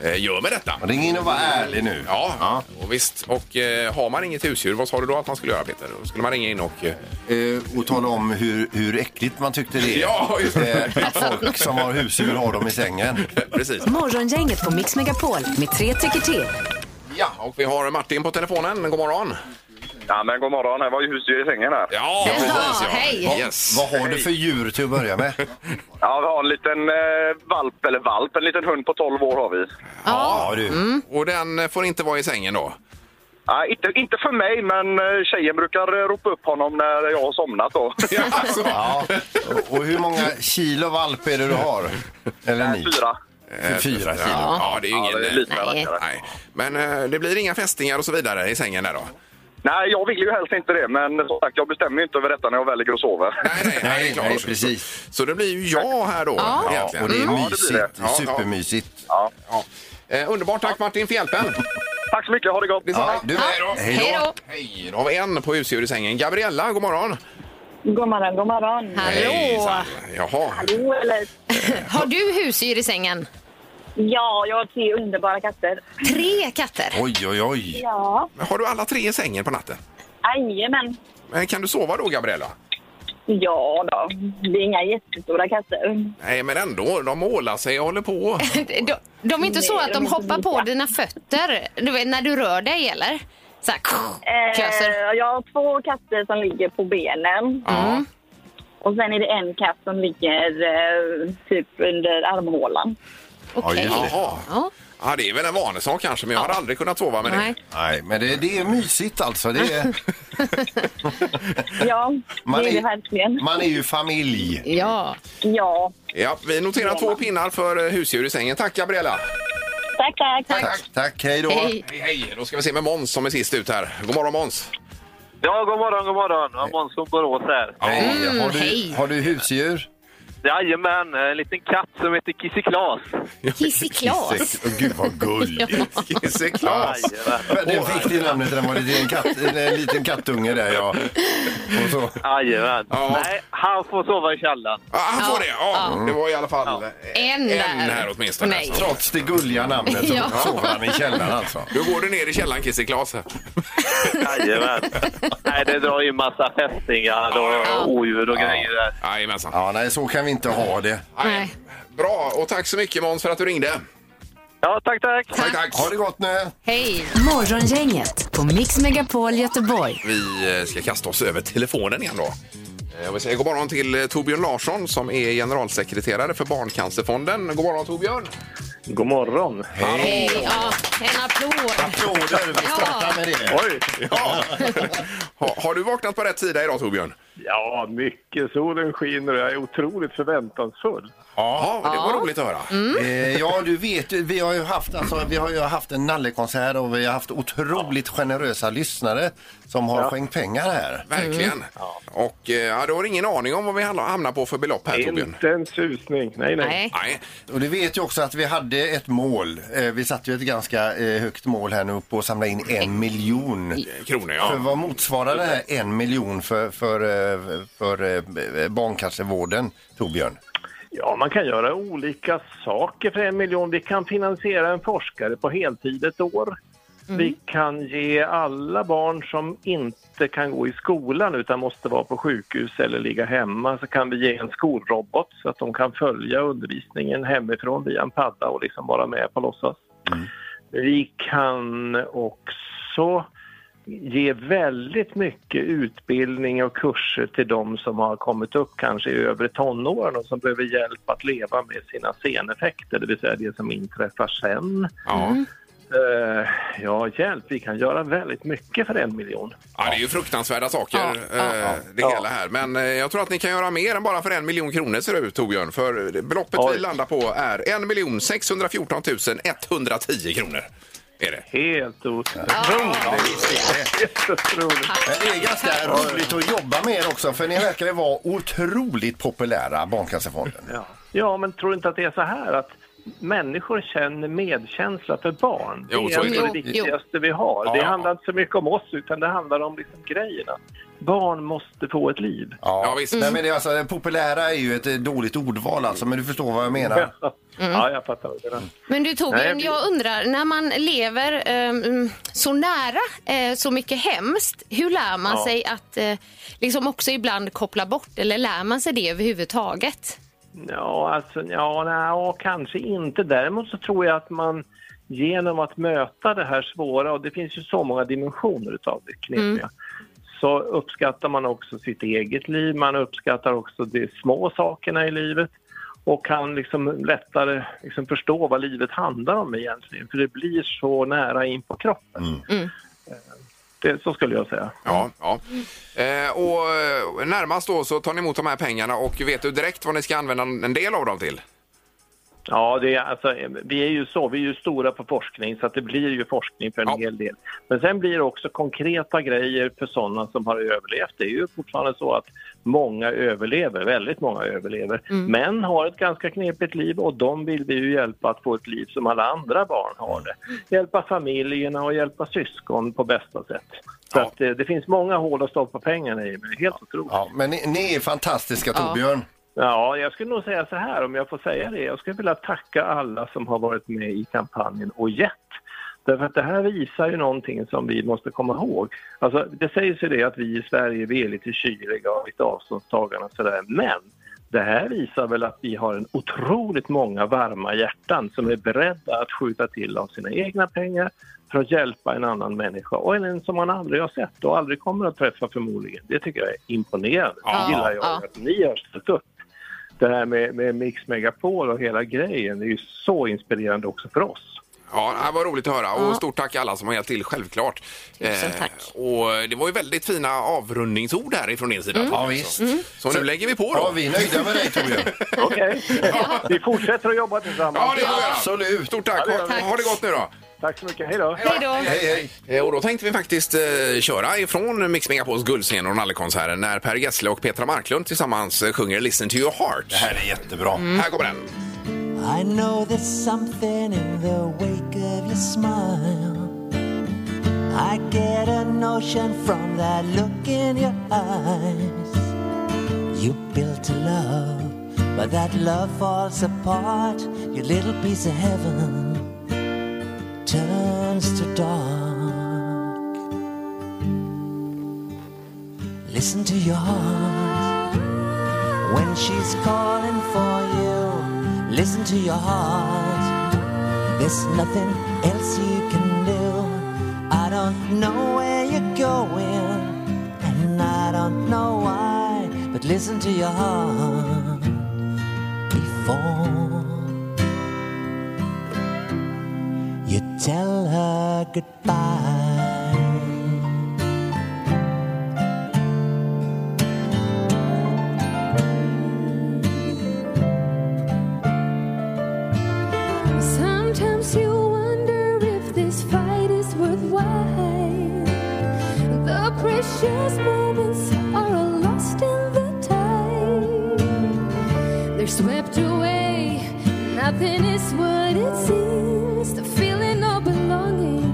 D: eh, gör med detta.
E: Ring in och var ärlig nu.
D: Ja, Och visst. Och eh, har man inget husdjur, vad sa du då att man skulle göra Peter? Då skulle man ringa in och... eh, [LAUGHS]
E: Eh, och tala om hur, hur äckligt man tyckte det är.
D: Ja, just det.
E: Eh, att folk som har husdjur har dem i sängen.
D: Precis.
C: Morgongänget på Mix Megapol med tre tycker till.
D: Ja, och vi har Martin på telefonen. God morgon.
A: Ja, men god morgon. Det var ju husdjur i sängen här.
D: Ja,
G: Ja,
D: precis. Ja.
G: hej.
D: Yes.
E: Vad har du för djur till att börja med?
A: Ja, vi har en liten eh, valp, eller valp, en liten hund på 12 år har vi.
E: Ja, du.
D: Och den eh, får inte vara i sängen då?
A: Ja, inte, inte för mig, men eh, tjejen brukar eh, ropa upp honom när jag har somnat då.
D: Ja, alltså.
E: Ja. Och hur många kilo valp är det du har? Eller ni? Eh,
A: Fyra.
D: Eh,
E: Fyra kilo.
D: Ja, det är ju
A: Ja,
D: ingen... eh,
A: det är lite
G: Nej.
A: rackare.
D: Nej. Men eh, det blir inga fästingar och så vidare i sängen där då?
A: Nej, jag vill ju helst inte det, men som sagt, jag bestämmer ju inte över detta när jag väl ligger och sover.
D: Nej, nej, nej, det är klart.
E: nej, precis.
D: Så det blir ju jag här då.
G: Ja.
E: Ja,
D: egentligen.
E: och det är
A: blir det.
E: mysigt.
D: Ja, ja.
E: Supermysigt.
D: Ja. Eh, underbart. Tack Martin för hjälpen.
A: Tack så mycket, ha det gott!
E: Ja, du
G: Ja, hej då.
D: Hej, då har vi en på husdjur i sängen. Gabriella, god morgon.
B: God morgon, god morgon.
G: Hallå!
D: Hejsan. Jaha.
B: Jo, eller...
G: Har du husdjur i sängen?
B: Ja, jag har tre underbara katter.
G: Tre katter?
E: Oj, oj, oj.
B: Ja,
D: Men Har du alla tre i sängen på natten?
B: jajamän.
D: Men kan du sova då, Gabriella?
B: Ja då, det är inga jättestora katter.
D: Nej, men ändå. De ålar sig och håller på.
G: [LAUGHS] De, de är inte så
B: Nej,
G: att
B: de
G: de
B: är inte
G: hoppar på
B: lika.
G: dina fötter du vet, när du rör dig, eller? Så här, klöser.
B: Eh, jag har två katter som ligger på benen.
D: Ja.
B: Och sen är det en katt som ligger eh, typ under armhålan.
G: Okej.
E: just det.
D: Jaha.
G: Ja.
D: Ja, det är väl en vanesak kanske, men jag har aldrig kunnat sova med det.
G: Nej.
E: Nej, men det, det är mysigt alltså. Det är,
B: Ja,
E: Man
B: det är
E: är-
B: det verkligen.
E: man är ju familj.
G: Ja.
B: Ja,
D: Ja, vi noterar två pinnar för eh, husdjur i sängen. Tack, Gabriella.
B: tack, tack.
E: Tack, tack. Hej då.
G: Hej.
D: Hej, hej. Då ska vi se med Måns som är sist ut här. God morgon, Måns.
A: Ja, god morgon, god morgon. Ja, Måns från Borås här.
E: Hej.
D: Mm.
E: har, du,
G: hej.
E: har du husdjur?
A: Jajamän, en liten katt som heter Kissy Klas.
G: Kissig Klas.
E: Kisse- Åh, Gud vad gulligt.
D: Kisse Klas.
E: Men den fick det namnet, den var en liten, katt, en liten kattunge där ja. Och så.
A: Jajamän.
D: Ja.
A: Nej, han får sova i källaren.
D: Ja, han får det. Ja, Det var i alla fall
G: En
D: en
G: där.
D: här åtminstone.
G: Nej.
D: Så.
E: Trots det gulliga namnet så
G: Ja.
E: sover han i källaren alltså.
D: Nu går du ner i källaren, Kisse Klas.
A: Jajamän. Nej, det drar ju massa fästingar och odjur och grejer där.
D: Jajamensan.
E: Ja, nej så kan vi inte ha det.
D: Nej. Bra, och tack så mycket Måns för att du ringde.
A: Ja, tack, tack.
D: Tack, tack.
E: Ha det gott nu.
G: Hej.
C: Morgongänget på Mix Megapol Göteborg.
D: Vi eh, ska kasta oss över telefonen igen då. Eh, Vi säger god morgon till eh, Torbjörn Larsson som är generalsekreterare för Barncancerfonden. God morgon Torbjörn!
A: God morgon.
G: Hej. Ja, en applåd.
E: Applåder, vi startar med det.
A: Oj!
D: Ja. ha, har du vaknat på rätt sida idag Torbjörn?
A: Ja, mycket. Solen skiner och jag är otroligt förväntansfull.
D: Ja, det var roligt att höra.
E: Eh, Ja, du vet, ju, vi har ju haft, alltså, vi har ju haft en nallekonsert och vi har haft otroligt generösa lyssnare som har skänkt pengar här.
D: Verkligen.
A: Mm.
D: Och eh, ja, du har ingen aning om vad vi hamnar hamnar på för belopp här Torbjörn?
A: Inte en susning. Nej, nej.
G: Nej.
D: Nej.
E: Och du vet ju också att vi hade ett mål. Eh, Vi satte ju ett ganska eh, högt mål här nu på att samla in en miljon.
D: Kronor
E: För
D: ja.
E: vad motsvarar det här en miljon för, för, eh, för, eh, barncancervården, Torbjörn?
A: Ja, man kan göra olika saker för en miljon. Vi kan finansiera en forskare på heltid ett år. Vi kan ge alla barn som inte kan gå i skolan utan måste vara på sjukhus eller ligga hemma så kan vi ge en skolrobot så att de kan följa undervisningen hemifrån via en padda och liksom vara med på låtsas. Vi kan också ge väldigt mycket utbildning och kurser till de som har kommit upp kanske i övre tonåren och som behöver hjälp att leva med sina seneffekter, det vill säga det som inträffar sen. Eh, ja, hjälp, vi kan göra väldigt mycket för en miljon.
D: Ja, det är ju fruktansvärda saker eh, det hela här. Men eh, jag tror att ni kan göra mer än bara för en miljon kronor ser det ut Torbjörn. För beloppet vi
A: Oj.
D: landar på är 1 614 110 kronor. Är det.
A: Helt otroligt! Helt otroligt.
E: Men det är ganska roligt att jobba med er också för ni verkar ju vara otroligt populära, Barncancerfonden.
A: Ja, men tror du inte att det är så här att människor känner medkänsla för barn?
E: Jo,
A: det
E: så
A: är
E: är det.
A: ändå det
E: Jo,
A: viktigaste vi har.
E: Ja,
A: det
E: ja.
A: handlar inte så mycket om oss, utan det handlar om liksom grejerna. Barn måste få ett liv.
E: Ja, Nej, men det är alltså, det populära är ju ett eh, dåligt ordval alltså, men du förstår vad jag menar. Mm.
A: Ja, jag fattar vad du menar.
G: Men du
E: Nej,
G: Torbjörn,
E: jag-
G: jag undrar, när man lever ehm, så nära eh, så mycket hemskt, hur lär man
A: Ja.
G: sig att eh, liksom också ibland koppla bort? Eller lär man sig det överhuvudtaget?
A: Ja, alltså, ja, nej, ja, kanske inte. Däremot så tror jag att man genom att möta det här svåra, och det finns ju så många dimensioner utav det knepiga,
K: Mm.
A: så uppskattar man också sitt eget liv, man uppskattar också de små sakerna i livet och kan liksom lättare liksom förstå vad livet handlar om egentligen, för det blir så nära in på kroppen. Eh, Det, så skulle jag säga.
D: Ja, ja. Eh, och eh, närmast då så tar ni emot de här pengarna och vet du direkt vad ni ska använda en del av dem till?
A: Ja, det är, alltså, vi är ju så, vi är ju stora på forskning så att det blir ju forskning för en hel del. Men sen blir det också konkreta grejer för sådana som har överlevt. Det är ju fortfarande så att många överlever, väldigt många överlever.
K: Mm.
A: Men har ett ganska knepigt liv och de vill vi ju hjälpa att få ett liv som alla andra barn har det. Hjälpa familjerna och hjälpa syskon på bästa sätt. Så att, eh, det finns många hål att stoppa pengarna i, men det är helt otroligt.
E: Ja, men ni, ni är fantastiska
A: Ja.
E: Torbjörn.
A: Ja, jag skulle nog säga så här om jag får säga det. Jag skulle vilja tacka alla som har varit med i kampanjen och gett. Därför att det här visar ju någonting som vi måste komma ihåg. Alltså, det sägs ju det att vi i Sverige, vi är lite kyliga och lite avståndstagande och sådär. Men det här visar väl att vi har en otroligt många varma hjärtan som är beredda att skjuta till av sina egna pengar för att hjälpa en annan människa och en som man aldrig har sett och aldrig kommer att träffa förmodligen. Det tycker jag är imponerande.
K: Ja,
A: det gillar jag
K: ja.
A: att ni har ställt upp. Det här med, med Mix Megapol och hela grejen, det är ju så inspirerande också för oss.
D: Ja, det här var roligt att höra och
A: Ja.
D: stort tack alla som har hjälpt till, självklart.
A: Tusen tack.
D: Eh, och det var ju väldigt fina avrundningsord här ifrån din sida.
A: Mm.
D: Tom,
A: Ja,
D: alltså.
A: visst. Mm.
D: Så nu lägger vi på då.
E: Ja, vi är nöjda med dig Torbjörn.
L: [LAUGHS]
A: Okej, vi fortsätter att jobba tillsammans.
D: Ja, det får vi göra.
E: Absolut.
D: Stort tack.
A: Ja, det
D: Ha,
A: gör vi.
D: ha det gott nu då.
A: Tack så mycket, hej då.
G: Hej då.
D: Hej, hej. Eh, Och då tänkte vi faktiskt eh, köra ifrån Mix Megapols guldscen och rallykonserten när Per Gessle och Petra Marklund tillsammans eh, sjunger Listen to your heart. Det här är jättebra. Här kommer den.
M: I know there's something in the wake of your smile. I get a notion from that look in your eyes. You built a love, but that love falls apart. Your little piece of heaven turns to dark. Listen to your heart when she's calling for you. Listen to your heart. There's nothing else you can do. I don't know where you're going, and I don't know why. But listen to your heart before you tell her goodbye.
N: Sometimes you wonder if this fight is worthwhile. The precious moments are all lost in the tide. They're swept away, nothing is what it seems. The feeling of belonging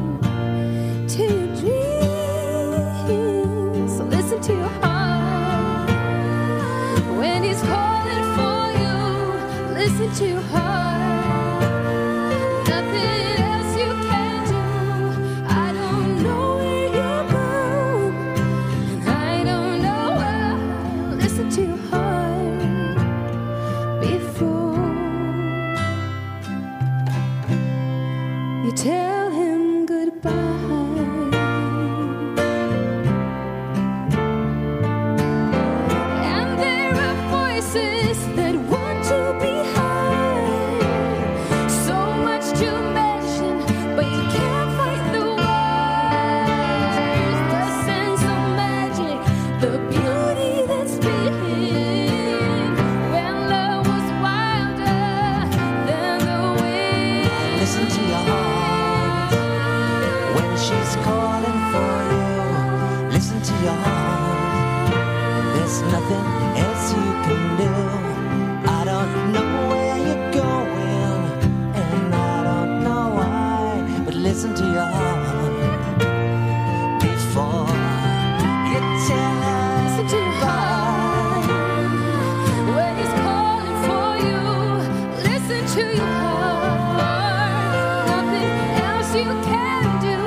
N: to your dreams. So listen to your heart when it's calling for you. Listen to your heart. Nothing else you can do. I
M: to your heart. There's nothing else you can do. I don't know where you're going, and I don't know why. But listen to your heart before you tell us goodbye.
N: When he's calling for you, listen to your heart. Nothing else you can do.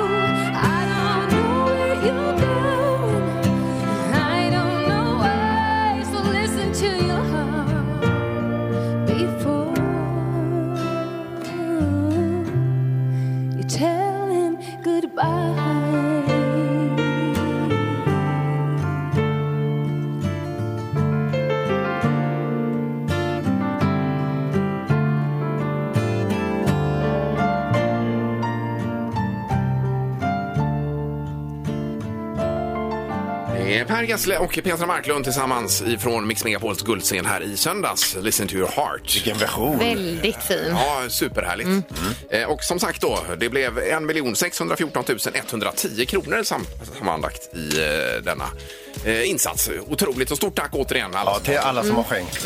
N: I don't know where you're going. I don't know why. So listen to your heart before you tell him goodbye.
D: Det är Per Gessle och Petra Marklund tillsammans ifrån Mix Megapols guldscen här i söndags. Listen to your heart. Vilken version!
G: Väldigt fin.
D: Ja, superhärligt. Eh, Och som sagt då, det blev 1 614 110 kronor sam- sammanlagt i eh, denna eh, insats. Otroligt och stort tack återigen alla ja, till alla
C: som har
D: skänkt.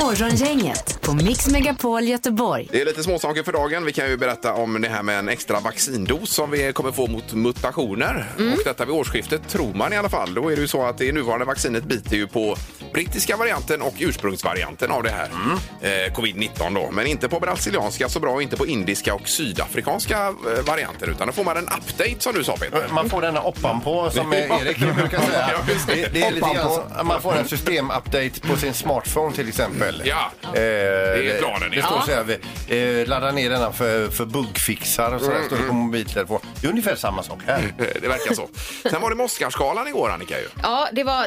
C: Morgongänget på Mix Megapol Göteborg.
D: Det är lite småsaker för dagen. Vi kan ju berätta om det här med en extra vaccindos som vi kommer få mot mutationer. Och detta vid årsskiftet tror man i alla fall. Då är det ju så att det nuvarande vaccinet biter ju på brittiska varianten och ursprungsvarianten av det här. Eh, Covid-19 då. Men inte på brasilianska så bra och inte på indiska och sydafrikanska eh, varianter. Utan då får man en update som du sa Peter.
E: Man får denna oppan på
D: [LAUGHS]
E: som eh, Erik brukar säga. Det, det är lite grann som, man får en systemupdate på sin smartphone till exempel.
D: Ja,
E: det är
D: planen,
E: Det
D: ja.
E: står så
D: Ja.
E: här, eh, ladda ner denna för, för buggfixar och sådär
D: Mm,
E: står det på mobiltelefon. Det är ungefär samma sak här.
D: Eh, Det verkar så. Sen var det med Oscarsgalan igår Annika ju.
G: Ja, det var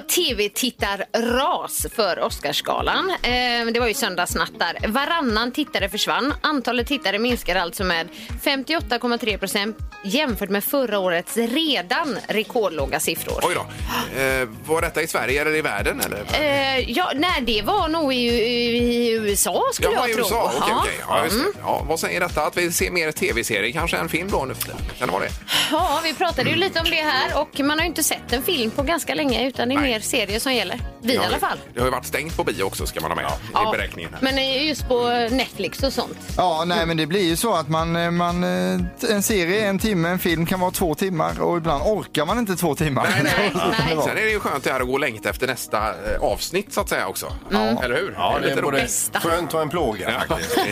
G: tv-tittarras för Oscarsgalan. Eh, det var ju söndagsnatt där. Varannan tittare försvann. Antalet tittare minskar alltså med 58,3 procent jämfört med förra årets redan rekordlåga siffror.
D: Oj då. Eh, var detta i Sverige eller i världen eller?
G: Eh, ja, nej, det var nog i, i, i USA skulle
D: Jaha,
G: jag
D: i
G: tro.
D: USA. Okej,
G: Ja. Mm.
D: okej. Ja, just det. Ja, vad säger detta? Att vi ser mer tv-serier kanske än film då nu för tiden? Kan det vara det?
G: Ja, vi pratade ju lite om det här och man har ju inte sett en film på ganska länge utan det är mer serier som gäller. Vi
D: Ja,
G: i alla fall.
D: Det har ju varit stängt på bio också ska man ha med i beräkningen. Här.
G: Men eh, just på Netflix och sånt.
F: Ja, nej men det blir ju så att man, eh, man, eh, t- en serie, en timme, en film kan vara två timmar och ibland orkar man inte två timmar. [LAUGHS]
D: Sen är det ju skönt det här att gå och längta efter nästa eh, avsnitt så att säga också. Eller hur?
E: Ja, det är
D: lite
E: både
D: roligt.
E: skönt och en plåga.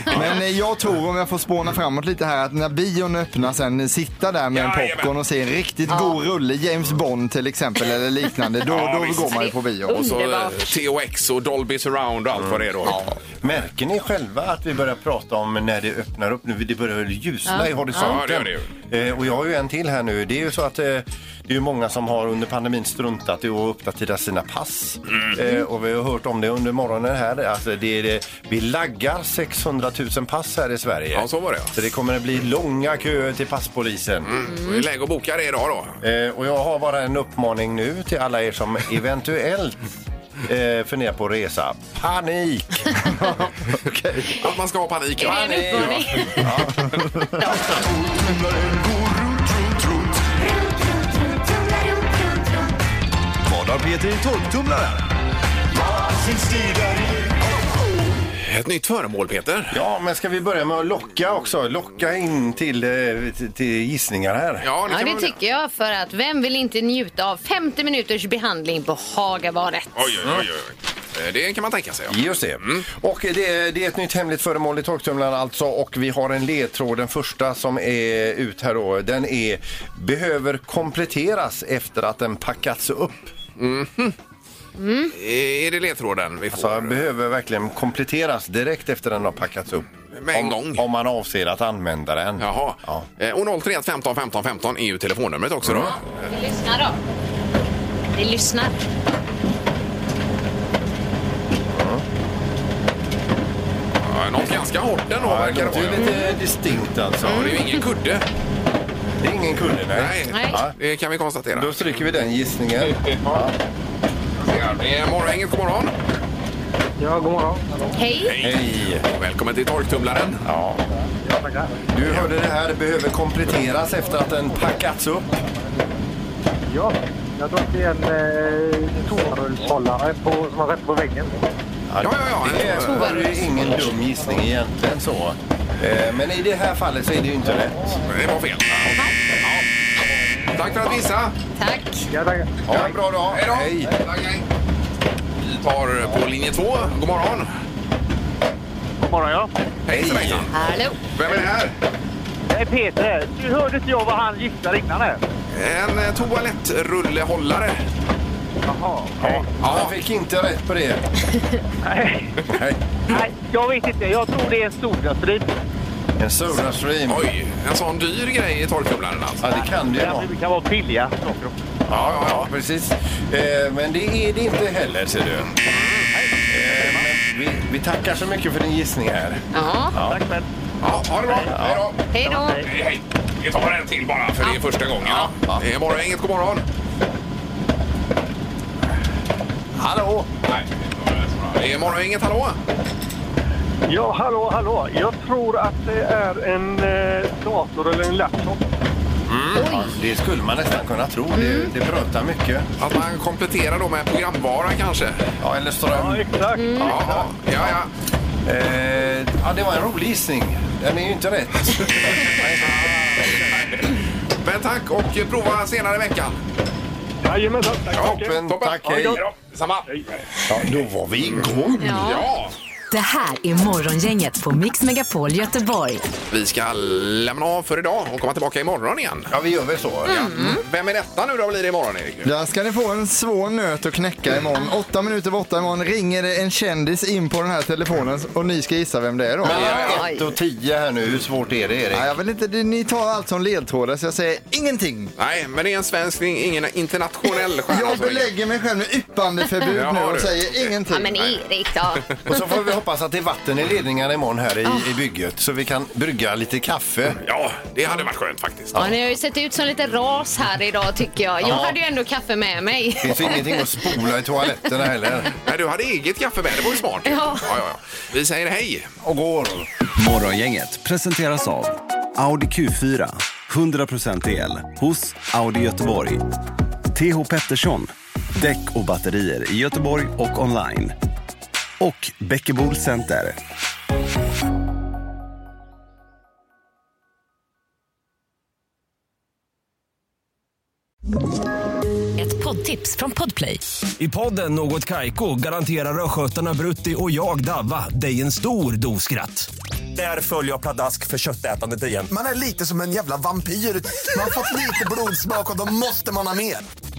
F: Men eh, jag tror, om jag får spåna framåt lite här, att när bion öppnar sen, eh, sitta där med en popcorn och se en riktigt god rulle, James Bond till exempel eller liknande, då,
D: [LAUGHS] Ja,
F: då
D: visst.
F: går man ju på bio.
G: Mm.
D: Och så eh, THX och Dolby surround och allt vad det är då.
E: Märker ni själva att vi börjar prata om när det öppnar upp nu? Det börjar ljusna
D: Ja.
E: i
D: Ja, det gör
E: horisonten.
D: det
E: Eh, och jag har ju en till här nu. Det är ju så att eh, det är ju många som har under pandemin struntat i att uppdatera sina pass.
D: Mm.
E: Eh, och vi har hört om det under morgonen här. Alltså, det är, det- vi laggar 600 000 pass här i Sverige.
D: Ja, så var det, ja. Mm.
E: Så det kommer att bli långa köer till passpolisen.
D: Så det är läge att boka det idag då.
E: Eh, och jag har bara en uppmaning nu till alla er som
D: [LAUGHS]
E: eventuellt eh, funderar på att resa. Panik!
D: Att man ska ha panik. ja.
K: Vad har Peter i tolvtumlaren?
D: Ett nytt föremål Peter.
E: Ja, men ska vi börja med att locka också? Locka in till, eh, till, till gissningar här.
G: Ja, det tycker jag för att vem vill inte njuta av 50 minuters behandling på Hagabadet?
D: Oj, oj, oj, oj. Eh, Det kan man tänka sig.
G: Mm.
D: Ja.
E: Just det.
D: Mm.
E: Och det, det är ett nytt hemligt föremål i torktumlaren alltså och vi har en ledtråd. Den första som är ut här då, den är behöver kompletteras efter att den packats upp.
D: Eh, Är det ledtråden vi får?
E: Alltså behöver verkligen kompletteras direkt efter den har packats upp.
D: Med en
E: om,
D: gång?
E: Om man avser att använda den.
D: Jaha.
E: Ja. Mm.
D: Eh, Och 031 15 15 15 är ju telefonnumret också då.
G: Vi lyssnar då. Vi lyssnar.
D: Ja, Något ganska hårt ändå
E: Ja, det
D: verkar
E: låter ju
D: vara.
E: lite distinkt alltså.
D: Ja, det är ju ingen kudde.
E: Det är ingen kudde, nej.
D: Nej,
E: Ja.
D: det kan vi konstatera.
E: Då stryker vi den gissningen.
D: Det är Eh, Morgongänget, god morgon.
A: Ja, god morgon.
G: Hej!
E: Hej!
D: Välkommen till torktumlaren.
E: Ja. Du hörde det här, det behöver kompletteras efter att den packats upp.
A: Ja.
L: Jag tror att det är en eh, toarullshållare på, som har rätt på väggen.
E: Ja, ja, ja. Det är ju ingen dum gissning egentligen så. Eh, Men i det här fallet så är det ju inte rätt.
D: Det var fel. Tack för att du gissade.
G: Tack.
L: Ja, tack.
D: Ha en bra dag. Hej då. Tack, hej. Vi tar på linje två. God morgon.
L: God morgon, ja.
D: Hej Svejsan.
G: Hallå.
D: Vem är det här?
L: Det är Peter. Du hörde inte jag vad han gissade innan här?
D: En eh, toalettrullehållare.
L: Jaha.
D: Ja.
E: Han fick inte rätt på det.
L: Nej.
E: Nej.
L: Nej, jag vet inte. Jag tror det är en solglasdrip.
E: En Sodastream.
D: Oj, en sån dyr grej i torktumlaren alltså.
E: Ja, det kan det ju vara.
L: Det kan vara billiga saker också.
D: Ja, ja, ja.
E: Precis. Eh, Men det är det inte heller ser du. Eh, men Vi, vi tackar så mycket för din gissning här.
G: Ja.
L: Tack själv.
D: Ja, ha det bra. Hej då.
G: Hej då.
D: Hej, hej. Vi tar en till bara, för det är första gången. Ja. Det är bara inget god morgon.
E: Hallå!
D: Nej, det är morgon, inget hallå.
L: Ja, hallå, hallå. Jag tror att det är en eh, dator eller en laptop.
E: Ja, det skulle man nästan kunna tro. Det, det brötar mycket.
D: Att man kompletterar då med programvara kanske.
E: Ja, eller ström.
L: Ja, exakt.
D: Ja, ja, ja. ja.
E: Eh, ja, det var en rolig gissning. Den är ju inte rätt.
D: Men tack och prova senare i veckan.
L: Jajamensan. Tack så mycket.
E: Toppen. Tack,
D: Ja,
E: hej.
D: det är bra. Samma.
E: Ja, då var vi igång.
D: Ja.
C: Det här är Morgongänget på Mix Megapol Göteborg.
D: Vi ska lämna av för idag och komma tillbaka imorgon igen.
E: Ja, Mm. vi gör väl så.
D: Ja. Vem är detta nu då blir det imorgon Erik?
F: Där ska ni få en svår nöt att knäcka imorgon. Åtta minuter över åtta imorgon ringer det en kändis in på den här telefonen och ni ska gissa vem det är då.
E: Mellan 1 och 10 här nu. Hur svårt är det, Erik?
F: Ja, jag vill inte, ni tar allt som ledtrådar så jag säger ingenting.
D: Nej, men det är en svensk, ingen
O: [LAUGHS]
D: internationell stjärna.
F: Jag
D: som ringer.
F: belägger mig själv med yppandeförbud
D: Jaha,
F: nu
D: du.
F: och säger
G: Ja,
F: ingenting.
G: men Erik
D: [LAUGHS]
G: då.
E: Och så får vi hoppas att det är vatten i ledningarna imorgon här i, i bygget så vi kan brygga lite kaffe.
D: Ja, det hade varit skönt faktiskt.
G: Ja, ni har ju sett ut som lite ras här idag tycker jag. Jag
E: Ja.
G: hade ju ändå kaffe med mig.
E: Det
D: [LAUGHS]
E: finns ju ingenting att spola i toaletterna heller.
D: Nej, du hade eget kaffe med. Det var ju smart.
G: Ja.
D: Ja, ja, ja. Vi säger hej.
E: Och går.
K: Morgongänget presenteras av Audi Q4. 100% el hos Audi Göteborg. TH Pettersson. Däck och batterier i Göteborg och online. Och Bäckebol Center.
C: Ett poddtips från Podplay.
P: I podden Något Kaiko garanterar östgötarna Brutti och jag, Davva, dig en stor dos skratt. Där följer jag pladask för köttätandet igen.
K: Man är lite som en jävla vampyr. Man har fått lite blodsmak och då måste man ha mer.